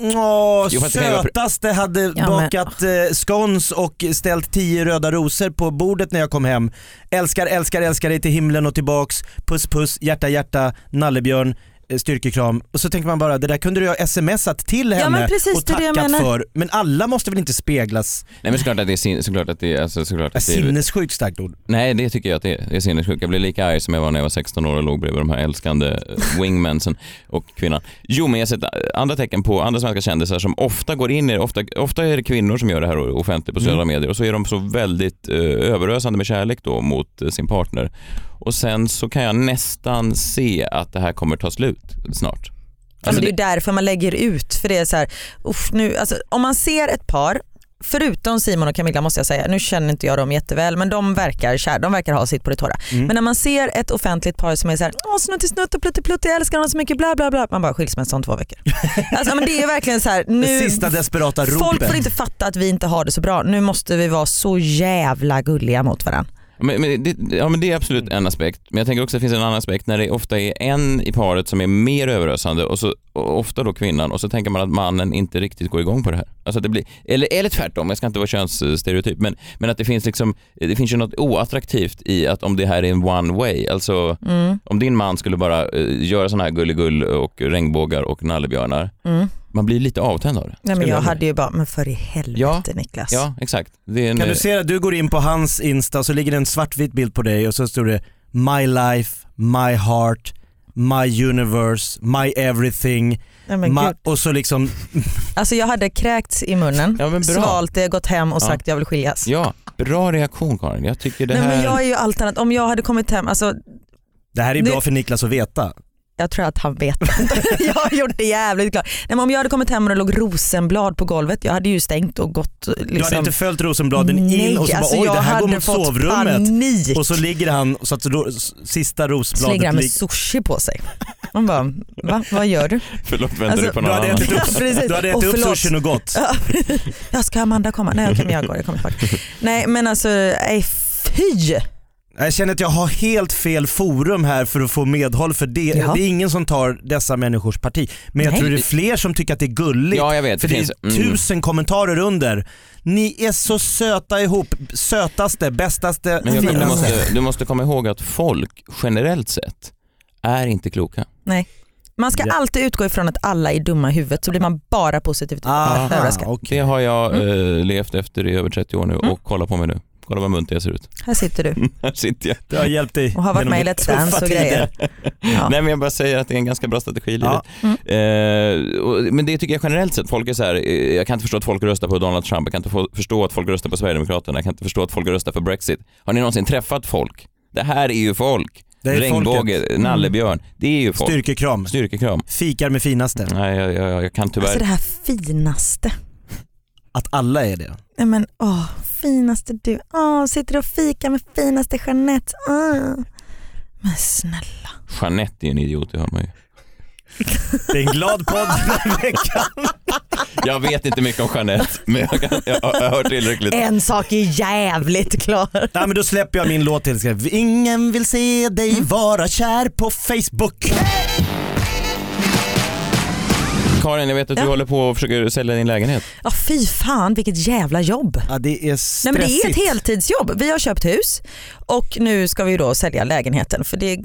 Speaker 6: Åh,
Speaker 4: Jo, fast det kan ju vara pri-
Speaker 6: sötaste hade
Speaker 5: men-
Speaker 6: bakat eh, scones och ställt tio röda rosor på bordet när jag kom hem. Älskar, älskar, älskar dig till himlen och tillbaks. Puss, puss, hjärta, hjärta, nallebjörn, eh, styrkekram. Och så tänker man bara, det där kunde du ha smsat till
Speaker 5: Ja,
Speaker 6: henne
Speaker 5: men precis,
Speaker 6: och
Speaker 5: det är det jag
Speaker 6: tackat
Speaker 5: menar.
Speaker 6: för. Men alla måste väl inte speglas?
Speaker 4: Nej men såklart att det är, sin, såklart att det är, alltså, såklart att det är
Speaker 6: Sinnessjukt starkt ord.
Speaker 4: Nej, det tycker jag att det är. Jag är sinnessjuk. Jag blev lika arg som jag var när jag var 16 år och låg bredvid de här älskande eh, wingmansen och kvinnan. Jo, men jag har sett eh, andra tecken på andra svenska kändisar som ofta går in i det. Ofta, ofta är det kvinnor som gör det här offentligt på sociala medier och så är de så väldigt eh, överösande med kärlek då mot eh, sin partner. Och sen så kan jag nästan se att det här kommer ta slut snart.
Speaker 5: Alltså det är
Speaker 4: det-
Speaker 5: ju därför man lägger ut. För det är så här, uff, nu, alltså, om man ser ett par, förutom Simon och Camilla måste jag säga, nu känner inte jag dem jätteväl men de verkar kär, de verkar ha sitt på det torra. Men när man ser ett offentligt par som är så här, åh snutt i snutt och plutt i plutt, jag älskar honom så mycket, bla bla bla. Man bara skilsmässa om två veckor. alltså, men det är verkligen så här,
Speaker 6: Det
Speaker 5: nu,
Speaker 6: sista desperata ropet.
Speaker 5: folk får inte fatta att vi inte har det så bra. Nu måste vi vara så jävla gulliga mot varandra.
Speaker 4: Men, men, det, ja, men det är
Speaker 5: Mm.
Speaker 4: absolut en aspekt. Men jag tänker också att det finns en annan aspekt när det ofta är en i paret som är mer överösande och, så, och ofta då kvinnan och så tänker man att mannen inte riktigt går igång på det här. Alltså att det blir, eller, eller tvärtom, jag ska inte vara könsstereotyp men, men att det finns, liksom, det finns ju något oattraktivt i att om det här är en one way, alltså
Speaker 5: Mm.
Speaker 4: om din man skulle bara eh, göra sådana här gulligull och regnbågar och nallebjörnar, man blir lite avtänd av det.
Speaker 5: Nej, Mm. men
Speaker 4: Skulle
Speaker 5: jag
Speaker 4: säga.
Speaker 5: hade ju bara, men för i helvete Niklas.
Speaker 4: Ja, exakt. Det är en,
Speaker 6: Kan du
Speaker 4: eh,
Speaker 6: se att du går in på hans insta så ligger det en svartvit bild på dig och så står det My life, my heart, my universe, my everything.
Speaker 5: Nej, men
Speaker 6: my,
Speaker 5: gud.
Speaker 6: och så liksom,
Speaker 5: Alltså jag hade kräkts i munnen,
Speaker 4: Ja, men bra.
Speaker 5: svalt det, gått hem och
Speaker 4: Ja.
Speaker 5: sagt jag vill skiljas.
Speaker 4: Ja, bra reaktion Karin. Jag tycker det
Speaker 5: Nej,
Speaker 4: här...
Speaker 5: men jag är ju allt annat. Om jag hade kommit hem, alltså,
Speaker 6: det här är
Speaker 5: Det-
Speaker 6: bra för Niklas att veta.
Speaker 5: jag tror att han vet. (laughs) jag har gjort det jävligt klart. Nej, men om jag hade kommit hem och det låg rosenblad på golvet, jag hade ju stängt och gått. Liksom,
Speaker 6: Du hade inte följt rosenbladen in och så bara
Speaker 5: alltså,
Speaker 6: oj det
Speaker 5: jag
Speaker 6: här går
Speaker 5: hade
Speaker 6: mot
Speaker 5: fått
Speaker 6: sovrummet.
Speaker 5: Panik.
Speaker 6: Och så ligger han så att då, s- sista
Speaker 5: Slänger
Speaker 6: rosbladet
Speaker 5: han med
Speaker 6: lig-
Speaker 5: sushi på sig. Man bara, va? Vad gör
Speaker 6: (laughs)
Speaker 5: du?
Speaker 4: Förlåt, väntar
Speaker 5: Alltså,
Speaker 4: du på
Speaker 6: Du
Speaker 4: någon
Speaker 6: hade
Speaker 4: annan?
Speaker 6: ätit upp,
Speaker 5: Ja, precis.
Speaker 6: du hade
Speaker 5: Och
Speaker 6: ätit upp
Speaker 5: förlåt.
Speaker 6: sushin och gått.
Speaker 5: Ja, ska Amanda komma? Nej okej men jag går, jag kommer tillbaka. Nej men alltså, nej fy.
Speaker 6: Jag känner att jag har helt fel forum här för att få medhåll för det.
Speaker 5: Jaha.
Speaker 6: Det är ingen som tar dessa människors parti. Men jag
Speaker 5: Nej.
Speaker 6: tror det är fler som tycker att det är gulligt.
Speaker 4: Ja, jag vet.
Speaker 6: För
Speaker 4: Det
Speaker 6: det,
Speaker 4: finns-
Speaker 6: är
Speaker 4: mm.
Speaker 6: tusen kommentarer under. Ni är så söta ihop. Sötaste, bästaste,
Speaker 4: Men jag, du,
Speaker 6: finaste.
Speaker 4: måste, du måste komma ihåg att folk generellt sett är inte kloka.
Speaker 5: Nej. Man ska
Speaker 6: Ja.
Speaker 5: alltid utgå ifrån att alla är dumma i huvudet så blir man bara positivt
Speaker 6: Aha,
Speaker 5: överraskad.
Speaker 6: okej. Mm.
Speaker 4: Det har jag eh, levt efter i över 30 år nu och kolla på mig nu. Kolla vad munter jag ser
Speaker 6: (laughs)
Speaker 4: ut.
Speaker 5: Här sitter du
Speaker 4: Här sitter jag.
Speaker 6: Det har hjälpt dig
Speaker 5: och har varit
Speaker 6: genom
Speaker 5: med i Let's
Speaker 6: tuffa
Speaker 5: Dance och
Speaker 6: tider. (laughs)
Speaker 5: grejer. Ja.
Speaker 4: Nej men jag bara säger att det är en ganska bra strategi i livet.
Speaker 6: Ja.
Speaker 4: Eh, och, men det tycker jag generellt sett, folk är så här, eh, jag kan inte förstå att folk röstar på Donald Trump, jag kan inte få, förstå att folk röstar på Sverigedemokraterna, jag kan inte förstå att folk röstar för Brexit. Har ni någonsin träffat folk? Det här är ju folk.
Speaker 6: Det är Mm.
Speaker 4: Regnbåge, nallebjörn, det är ju folk.
Speaker 6: Styrkekram.
Speaker 4: Styrkekram.
Speaker 6: Fikar med finaste.
Speaker 4: Nej, jag, jag, jag kan tyvärr
Speaker 5: Alltså det här finaste.
Speaker 6: Att alla är det.
Speaker 5: Nej men åh, finaste du. Åh, sitter och fikar med finaste Jeanette. Åh. Men snälla.
Speaker 4: Jeanette är en idiot, det hör man ju.
Speaker 6: Det är en
Speaker 5: (laughs)
Speaker 6: glad podd den här veckan.
Speaker 4: Jag vet inte mycket om
Speaker 5: (laughs)
Speaker 4: Jeanette, men jag, kan, jag, har- jag har hört tillräckligt.
Speaker 5: En sak är jävligt klar.
Speaker 6: Nej men då släpper jag min låt till. Ska- Ingen vill se
Speaker 5: Mm.
Speaker 6: dig vara kär på Facebook.
Speaker 4: Karin, jag vet att du
Speaker 5: Ja.
Speaker 4: håller på och försöker sälja din lägenhet.
Speaker 5: Ja fy fan vilket jävla jobb.
Speaker 6: Ja det är
Speaker 5: Nej,
Speaker 6: stressigt.
Speaker 5: men det är ett heltidsjobb. Vi har köpt hus och nu ska vi ju då sälja lägenheten. För det,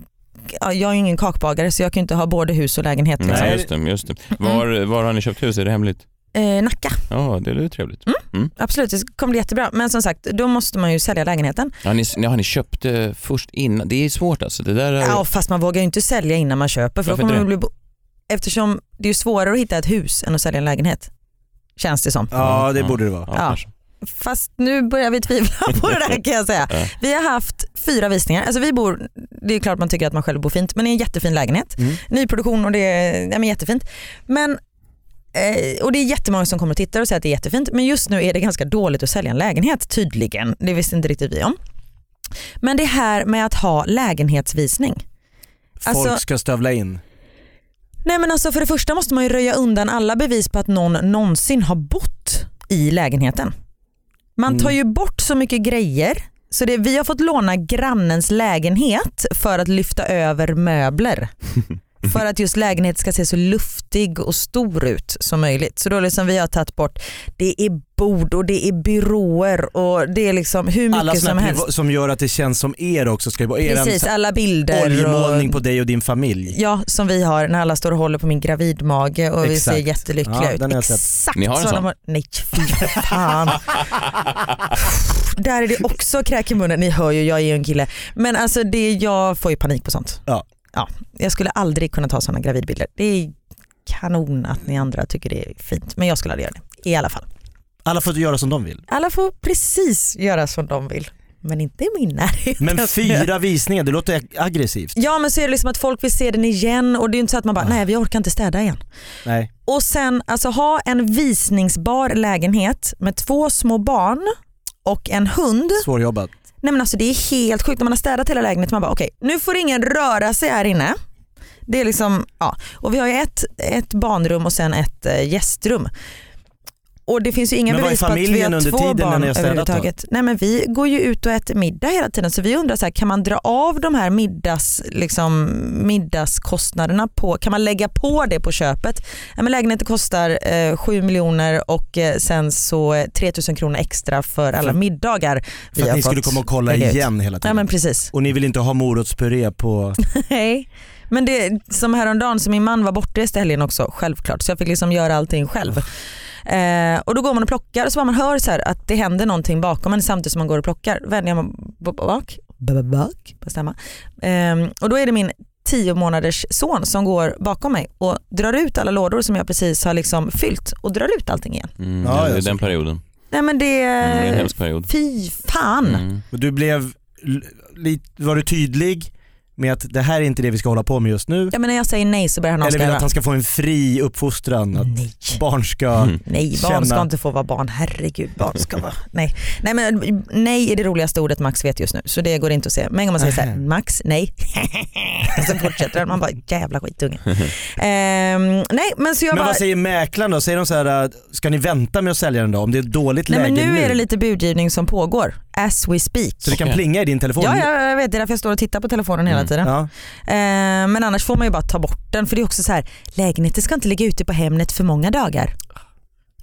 Speaker 5: ja, jag är ju ingen kakbagare så jag kan ju inte ha både hus och lägenhet. Liksom.
Speaker 4: Nej, Mm, just det. Just det.
Speaker 5: Mm.
Speaker 4: Var, var har ni köpt hus? Är det hemligt?
Speaker 5: Eh, Nacka,
Speaker 4: Ja, det är ju trevligt.
Speaker 5: Mm. absolut det kommer bli jättebra. Men som sagt, då måste man ju sälja lägenheten.
Speaker 4: Ja, ni, ja, ni köpte först innan. Det är svårt alltså. Det där är,
Speaker 5: Ja, fast man vågar ju inte sälja innan man köper. För då
Speaker 4: Varför inte
Speaker 5: kommer man bli bo- Eftersom det är ju svårare att hitta ett hus än att sälja en lägenhet. Känns det som.
Speaker 4: Mm.
Speaker 6: Ja det borde det vara.
Speaker 4: ja,
Speaker 5: ja.
Speaker 4: kanske.
Speaker 5: Fast nu börjar vi tvivla (laughs) på det där kan jag säga.
Speaker 4: Ja.
Speaker 5: Vi har haft fyra visningar. Alltså vi bor, det är klart man tycker att man själv bor fint, men i en jättefin lägenhet. Nyproduktion och det är ja, men jättefint. Men, eh, och det är jättemånga som kommer och tittar och säger att det är jättefint. Men just nu är det ganska dåligt att sälja en lägenhet tydligen. Det visste inte riktigt vi om. Men det här med att ha lägenhetsvisning.
Speaker 6: Folk
Speaker 5: Alltså-
Speaker 6: ska stövla in.
Speaker 5: Nej men alltså för det första måste man ju röja undan alla bevis på att någon någonsin har bott i lägenheten. Man tar ju bort så mycket grejer så det, vi har fått låna grannens lägenhet för att lyfta över möbler. För att just lägenheten ska se så luftig och stor ut som möjligt. Så då liksom vi har tagit bort, det är bord och det är byråer och det är liksom hur
Speaker 6: Alla
Speaker 5: mycket som
Speaker 6: såna här
Speaker 5: helst.
Speaker 6: priva- som gör att det känns som er också ska ju vara er
Speaker 5: Precis, alla bilder.
Speaker 6: oljemålning på dig och din familj.
Speaker 5: Ja, som vi har när alla står och håller på min gravidmage och vi
Speaker 6: Exakt.
Speaker 5: ser jättelyckliga
Speaker 6: Ja,
Speaker 5: ut.
Speaker 6: den har jag sett.
Speaker 5: Exakt
Speaker 4: Ni har en
Speaker 5: så
Speaker 4: sån?
Speaker 5: de Nej, fy (laughs)
Speaker 4: (laughs)
Speaker 5: fan. Där är det också kräk i munnen. Ni hör ju, jag är ju en kille. Men alltså det, jag får ju panik på sånt.
Speaker 6: Ja.
Speaker 5: Ja, jag skulle aldrig kunna ta sådana gravidbilder. Det är kanon att ni andra tycker det är fint, men jag skulle aldrig göra det. I alla fall.
Speaker 6: Alla får göra som de vill.
Speaker 5: Alla får precis göra som de vill, men inte i min närhet.
Speaker 6: Men fyra visningar, det låter ag- aggressivt.
Speaker 5: Ja men så är det liksom att folk vill se den igen och det är ju inte så att man bara, nej vi orkar inte städa igen.
Speaker 6: Nej.
Speaker 5: Och sen alltså ha en visningsbar lägenhet med två små barn och en hund.
Speaker 6: Svårjobbat.
Speaker 5: Nej men alltså det är helt sjukt när man har städat hela lägenheten. Man bara okej, nu får ingen röra sig här inne. Det är liksom, ja. Och vi har ju ett, ett barnrum och sen ett eh, gästrum. Och det finns ju inga
Speaker 6: Men vad är
Speaker 5: bevis på att vi
Speaker 6: familjen
Speaker 5: har
Speaker 6: under
Speaker 5: två
Speaker 6: tiden när
Speaker 5: barn
Speaker 6: ni har städat då?
Speaker 5: överhuvudtaget. Nej men vi går ju ut och äter middag hela tiden så vi undrar så här, kan man dra av de här middags, liksom, middagskostnaderna på, kan man lägga på det på köpet? Ja, men lägenheten kostar eh, 7 miljoner och eh, sen så eh, 3 000 kronor extra för alla
Speaker 6: För-
Speaker 5: middagar vi
Speaker 6: För att
Speaker 5: har
Speaker 6: ni skulle
Speaker 5: fått
Speaker 6: komma och kolla
Speaker 5: lägga ut.
Speaker 6: igen hela
Speaker 5: Ja
Speaker 6: tiden.
Speaker 5: men precis.
Speaker 6: Och ni vill inte ha morotspuré på...
Speaker 5: Nej. Men det som häromdagen, så min man var bortrest i helgen också självklart så jag fick liksom göra allting själv. Eh, och då går man och plockar och så bara man hör så här att det händer någonting bakom en samtidigt som man går och plockar. Vänder jag mig b- b- bak, b- b- bak, på stämma. Ehm, och då är det min tio månaders son som går bakom mig och drar ut alla lådor som jag precis har liksom fyllt och drar ut allting igen.
Speaker 4: Mm,
Speaker 6: Ja,
Speaker 4: ja, det
Speaker 6: ja,
Speaker 4: är den
Speaker 6: såklart.
Speaker 4: perioden.
Speaker 5: Nej men det,
Speaker 4: Mm, det är en
Speaker 5: är
Speaker 4: hemsk period.
Speaker 5: fy Eh, fan.
Speaker 4: Mm.
Speaker 6: Men Du blev... l- lit- Var du tydlig med att det här är inte det vi ska hålla på med just nu?
Speaker 5: Ja, men när jag säger nej så börjar han
Speaker 6: Eller vill du
Speaker 5: avskriva.
Speaker 6: att han ska få en fri uppfostran? Att
Speaker 5: Nej.
Speaker 6: barn ska...
Speaker 4: Mm.
Speaker 5: Nej, barn
Speaker 6: känna-
Speaker 5: ska inte få vara barn. Herregud, barn ska
Speaker 4: (laughs)
Speaker 5: vara... Nej. Nej, men, nej är det roligaste ordet Max vet just nu, så det går inte att säga. Men om man säger så här,
Speaker 6: Aha.
Speaker 5: Max, nej. (laughs) och sen fortsätter han, man bara
Speaker 4: (laughs)
Speaker 5: jävla skitunge. Ehm, nej, men så jag
Speaker 6: Men
Speaker 5: bara...
Speaker 6: vad säger mäklaren då? Säger de så här, äh, ska ni vänta med att sälja den då? Om det är ett dåligt
Speaker 5: Nej, men
Speaker 6: läge
Speaker 5: nu är det lite budgivning som pågår, as we speak.
Speaker 6: Så det kan
Speaker 4: Okej.
Speaker 6: plinga i din telefon?
Speaker 5: Ja, ja, jag vet, det är därför jag står och tittar på telefonen hela
Speaker 4: Mm.
Speaker 5: tiden.
Speaker 6: Ja.
Speaker 5: Ehm, men annars får man ju bara ta bort den, för det är också så här, lägenheten ska inte ligga ute på Hemnet för många dagar.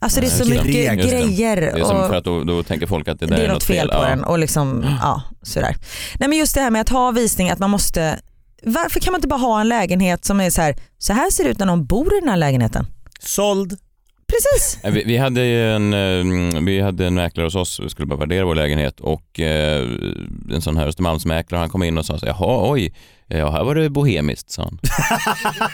Speaker 5: Alltså det är
Speaker 4: Nej,
Speaker 5: så
Speaker 4: just det.
Speaker 5: mycket
Speaker 4: Just det.
Speaker 5: grejer.
Speaker 4: Det är som
Speaker 5: och-
Speaker 4: för att då, då tänker folk att det där
Speaker 5: det är något fel på
Speaker 4: Ja.
Speaker 5: den och liksom, ja sådär. Nej men just det här med att ha visning, att man måste, varför kan man inte bara ha en lägenhet som är så här, så här ser det ut när någon bor i den här lägenheten.
Speaker 6: Såld.
Speaker 5: (laughs) Precis.
Speaker 4: Nej, Vi, vi, hade ju en, eh, vi hade en mäklare hos oss, vi skulle bara värdera vår lägenhet och eh, en sån här Östermalmsmäklare han kom in och sa så här, jaha oj, ja, här var det bohemiskt sa han.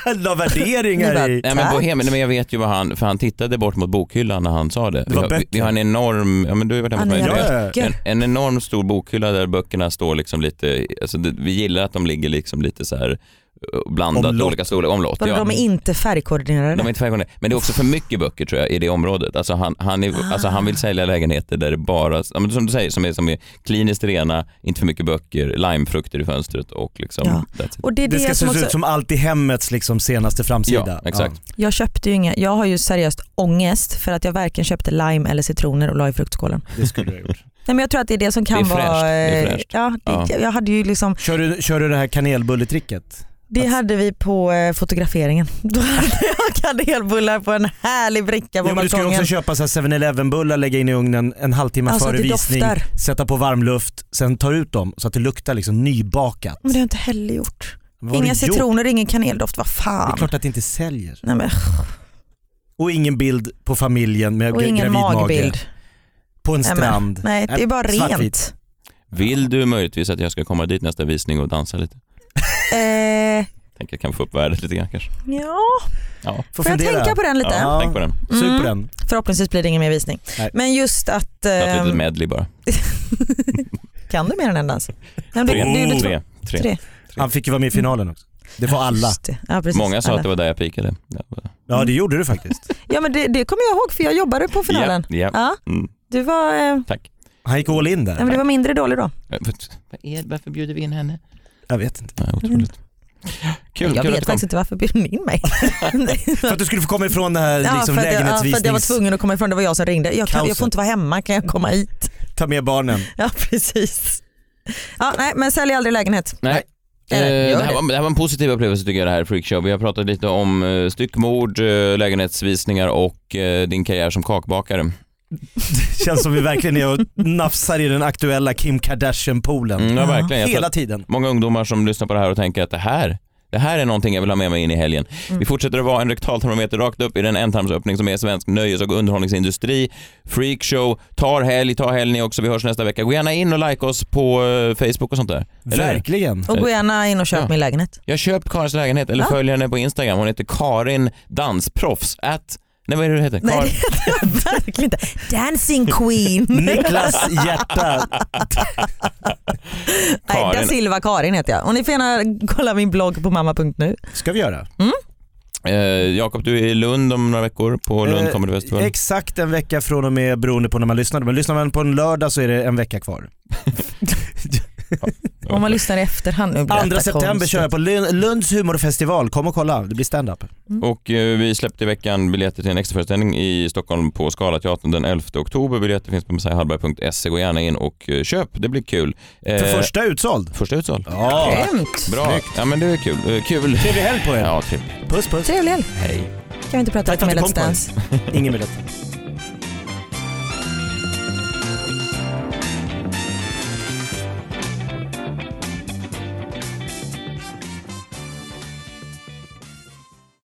Speaker 6: La
Speaker 5: Ni bara,
Speaker 6: värderingar i.
Speaker 4: Nej men
Speaker 5: Tack.
Speaker 4: bohem, nej, men jag vet ju vad han, för han tittade bort mot bokhyllan när han sa det.
Speaker 6: var
Speaker 4: vi, har, vi,
Speaker 6: böcker.
Speaker 4: vi har en enorm, ja men du har ju varit hemma
Speaker 5: Han
Speaker 4: hos mig.
Speaker 5: är
Speaker 4: du vet.
Speaker 6: Ja, ja,
Speaker 5: böcker.
Speaker 4: En, en enorm stor bokhylla där böckerna står liksom lite, alltså det, vi gillar att de ligger liksom lite så här eh, blandat i
Speaker 6: Omlott.
Speaker 4: olika storlekar, omlott.
Speaker 5: Vadå,
Speaker 4: ja.
Speaker 5: De är inte färgkoordinerade.
Speaker 4: De är inte färgkoordinerade. Men det är också för mycket böcker tror jag i det området. Alltså han, han, är,
Speaker 5: Ah.
Speaker 4: alltså han vill sälja lägenheter där det bara, ja, men som du säger, som är, som är kliniskt rena, inte för mycket böcker, limefrukter i fönstret och liksom
Speaker 5: Ja.
Speaker 4: that's it.
Speaker 5: och det är det,
Speaker 6: Det ska
Speaker 5: som
Speaker 6: se
Speaker 5: också,
Speaker 6: ut som allt i hemmets liksom senaste framsida.
Speaker 4: Ja, exakt.
Speaker 5: jag köpte ju inga, jag har ju seriöst ångest för att jag varken köpte lime eller citroner och la i fruktskålen.
Speaker 6: Ja, det skulle du ha
Speaker 4: (laughs)
Speaker 6: gjort.
Speaker 5: Nej men jag tror att det är det som kan
Speaker 4: Det är fräscht,
Speaker 5: vara...
Speaker 4: det är
Speaker 5: eh,
Speaker 4: fräscht.
Speaker 5: Ja, det,
Speaker 4: Ja.
Speaker 5: jag hade ju liksom
Speaker 6: (laughs) Kör du, kör du det här kanelbulletricket?
Speaker 5: Det
Speaker 6: Att-
Speaker 5: hade vi på eh, fotograferingen. (laughs) Då hade jag kanelbullar på en härlig bricka på
Speaker 6: Ja, men du ska ju
Speaker 5: balkongen.
Speaker 6: också köpa så här 7-Eleven bullar, lägga in i ugnen en halvtimme
Speaker 5: Alltså,
Speaker 6: före
Speaker 5: det
Speaker 6: visning,
Speaker 5: doftar.
Speaker 6: sätta på varmluft, sen tar ut dem så att det luktar liksom nybakat.
Speaker 5: Men det har jag inte heller gjort.
Speaker 6: Vad har
Speaker 5: Inga
Speaker 6: du gjort?
Speaker 5: citroner, ingen kaneldoft, vad
Speaker 6: Det är
Speaker 5: fan.
Speaker 6: klart att det inte säljer.
Speaker 5: Nej, men,
Speaker 6: Och ingen bild på familjen med
Speaker 5: och
Speaker 6: gra-
Speaker 5: ingen
Speaker 6: gravid mage.
Speaker 5: magbild.
Speaker 6: På en
Speaker 5: Nej, men-
Speaker 6: strand. Äh,
Speaker 5: Nej, det är bara
Speaker 6: Svartvitt.
Speaker 5: rent.
Speaker 4: Vill du möjligtvis att jag ska komma dit nästa visning och dansa lite?
Speaker 5: Eh,
Speaker 4: Tänker jag kan få upp värdet lite grann kanske.
Speaker 5: Ja,
Speaker 4: Ja,
Speaker 6: Får
Speaker 5: får jag
Speaker 6: fundera.
Speaker 5: tänka på den lite?
Speaker 4: ja tänk på den.
Speaker 6: Sug på
Speaker 5: Mm.
Speaker 6: den.
Speaker 5: Förhoppningsvis blir det ingen mer visning.
Speaker 6: Nej.
Speaker 5: Men just att...
Speaker 4: Ta ett
Speaker 5: ehm,
Speaker 4: litet medley bara.
Speaker 5: kan du mer än en dans? Nej, men
Speaker 4: Tre,
Speaker 5: det- det är ju två-
Speaker 4: tre, tre.
Speaker 5: tre.
Speaker 6: Han fick ju vara med i finalen också. Det var alla.
Speaker 5: Just det. Ja, precis,
Speaker 4: Många sa
Speaker 5: alla.
Speaker 4: att det var där jag pikade. Ja, bara-
Speaker 6: Ja
Speaker 5: Mm.
Speaker 6: det gjorde du faktiskt.
Speaker 5: Ja men det, det kommer jag ihåg för jag jobbade på finalen.
Speaker 4: Ja, ja.
Speaker 5: Ja,
Speaker 4: Mm.
Speaker 5: du var, eh, nej,
Speaker 6: Han gick all in där.
Speaker 5: men du var mindre dålig då.
Speaker 4: Eh, vad- vad är- Varför bjuder vi in henne?
Speaker 6: Jag vet inte.
Speaker 4: Nej, otroligt. Kul,
Speaker 5: jag
Speaker 4: kul att du
Speaker 5: vet
Speaker 4: kom.
Speaker 5: faktiskt inte varför bjöd ni in mig. (laughs)
Speaker 6: För att du skulle få komma ifrån det här
Speaker 5: ja,
Speaker 6: liksom,
Speaker 5: för att jag, ja, för att jag var
Speaker 6: lägenhetsvisnings...
Speaker 5: tvungen att komma ifrån, det var jag som ringde. Jag, kan, jag
Speaker 6: Kaoset.
Speaker 5: får inte vara hemma, kan jag komma hit? (laughs)
Speaker 6: Ta med barnen.
Speaker 5: Ja precis. Ja, nej, men sälj aldrig lägenhet.
Speaker 4: Nej. Eh,
Speaker 5: Eller,
Speaker 4: Det
Speaker 5: gör
Speaker 4: här,
Speaker 5: det.
Speaker 4: var, det här var en positiv upplevelse tycker jag det här Freakshow. Vi har pratat lite om eh, styckmord, eh, lägenhetsvisningar och eh, din karriär som kakbakare. Mm,
Speaker 6: Känns som vi verkligen är och nafsar i den aktuella Kim Kardashian-poolen.
Speaker 4: Mm, ja,
Speaker 5: Ja.
Speaker 4: verkligen. Jag tror
Speaker 6: Hela
Speaker 4: att
Speaker 6: tiden.
Speaker 4: många ungdomar som lyssnar på det här och tänker att det här, det här är någonting jag vill ha med mig in i helgen.
Speaker 5: Mm.
Speaker 4: Vi fortsätter att vara en rektaltermometer rakt upp i den ändtarmsöppning som är svensk nöjes och underhållningsindustri. Freakshow, tar helg, ta helg ni också. Vi hörs nästa vecka. Gå gärna in och like oss på eh, Facebook och sånt där. Eller hur?
Speaker 6: Verkligen.
Speaker 5: Och gå gärna in och köp
Speaker 4: Ja.
Speaker 5: min lägenhet.
Speaker 4: Jag köpt Karins lägenhet eller
Speaker 5: Ja.
Speaker 4: följer henne på Instagram. Hon heter Karin Dansproffs. At, nej vad är det du heter?
Speaker 5: Nej,
Speaker 4: Kar-
Speaker 5: det heter jag verkligen inte. Dancing Queen.
Speaker 6: (laughs) Niklas hjärta.
Speaker 5: (laughs) Nej, da
Speaker 4: Karin.
Speaker 5: Silva Karin heter jag. Och ni får gärna kolla min blogg på mamma.nu.
Speaker 6: Ska vi göra?
Speaker 4: Eh, Jakob, du är i Lund om några veckor på Lund
Speaker 6: Eh,
Speaker 4: Comedy Festival.
Speaker 6: Exakt en vecka från och med beroende på när man lyssnar. Men lyssnar man på en lördag så är det en vecka kvar.
Speaker 5: Om man lyssnar i efterhand. Nu blir
Speaker 6: Andra
Speaker 5: detta
Speaker 6: september
Speaker 5: konstigt.
Speaker 6: kör jag på Lund- Lunds humorfestival. Kom och kolla, det blir stand-up.
Speaker 4: Och eh, vi släppte i veckan biljetter till en extraföreställning i Stockholm på Scalateatern den 11 oktober. Biljetter finns på messiahallberg.se. Gå gärna in och eh, köp, det blir kul. Eh,
Speaker 6: För första utsåld.
Speaker 4: första utsåld.
Speaker 6: Ja.
Speaker 5: Grymt.
Speaker 4: Bra, ja men det är kul. Eh,
Speaker 6: (laughs)
Speaker 4: kul.
Speaker 6: Trevlig helg på er.
Speaker 4: Ja, trevligt.
Speaker 6: Puss puss.
Speaker 5: Trevlig helg.
Speaker 4: Hej.
Speaker 5: Kan vi inte prata
Speaker 6: Tack
Speaker 5: lite
Speaker 6: för
Speaker 5: mer
Speaker 6: att du
Speaker 5: Let's
Speaker 6: kom, Karin.
Speaker 5: Dance?
Speaker 6: Ingen biljett.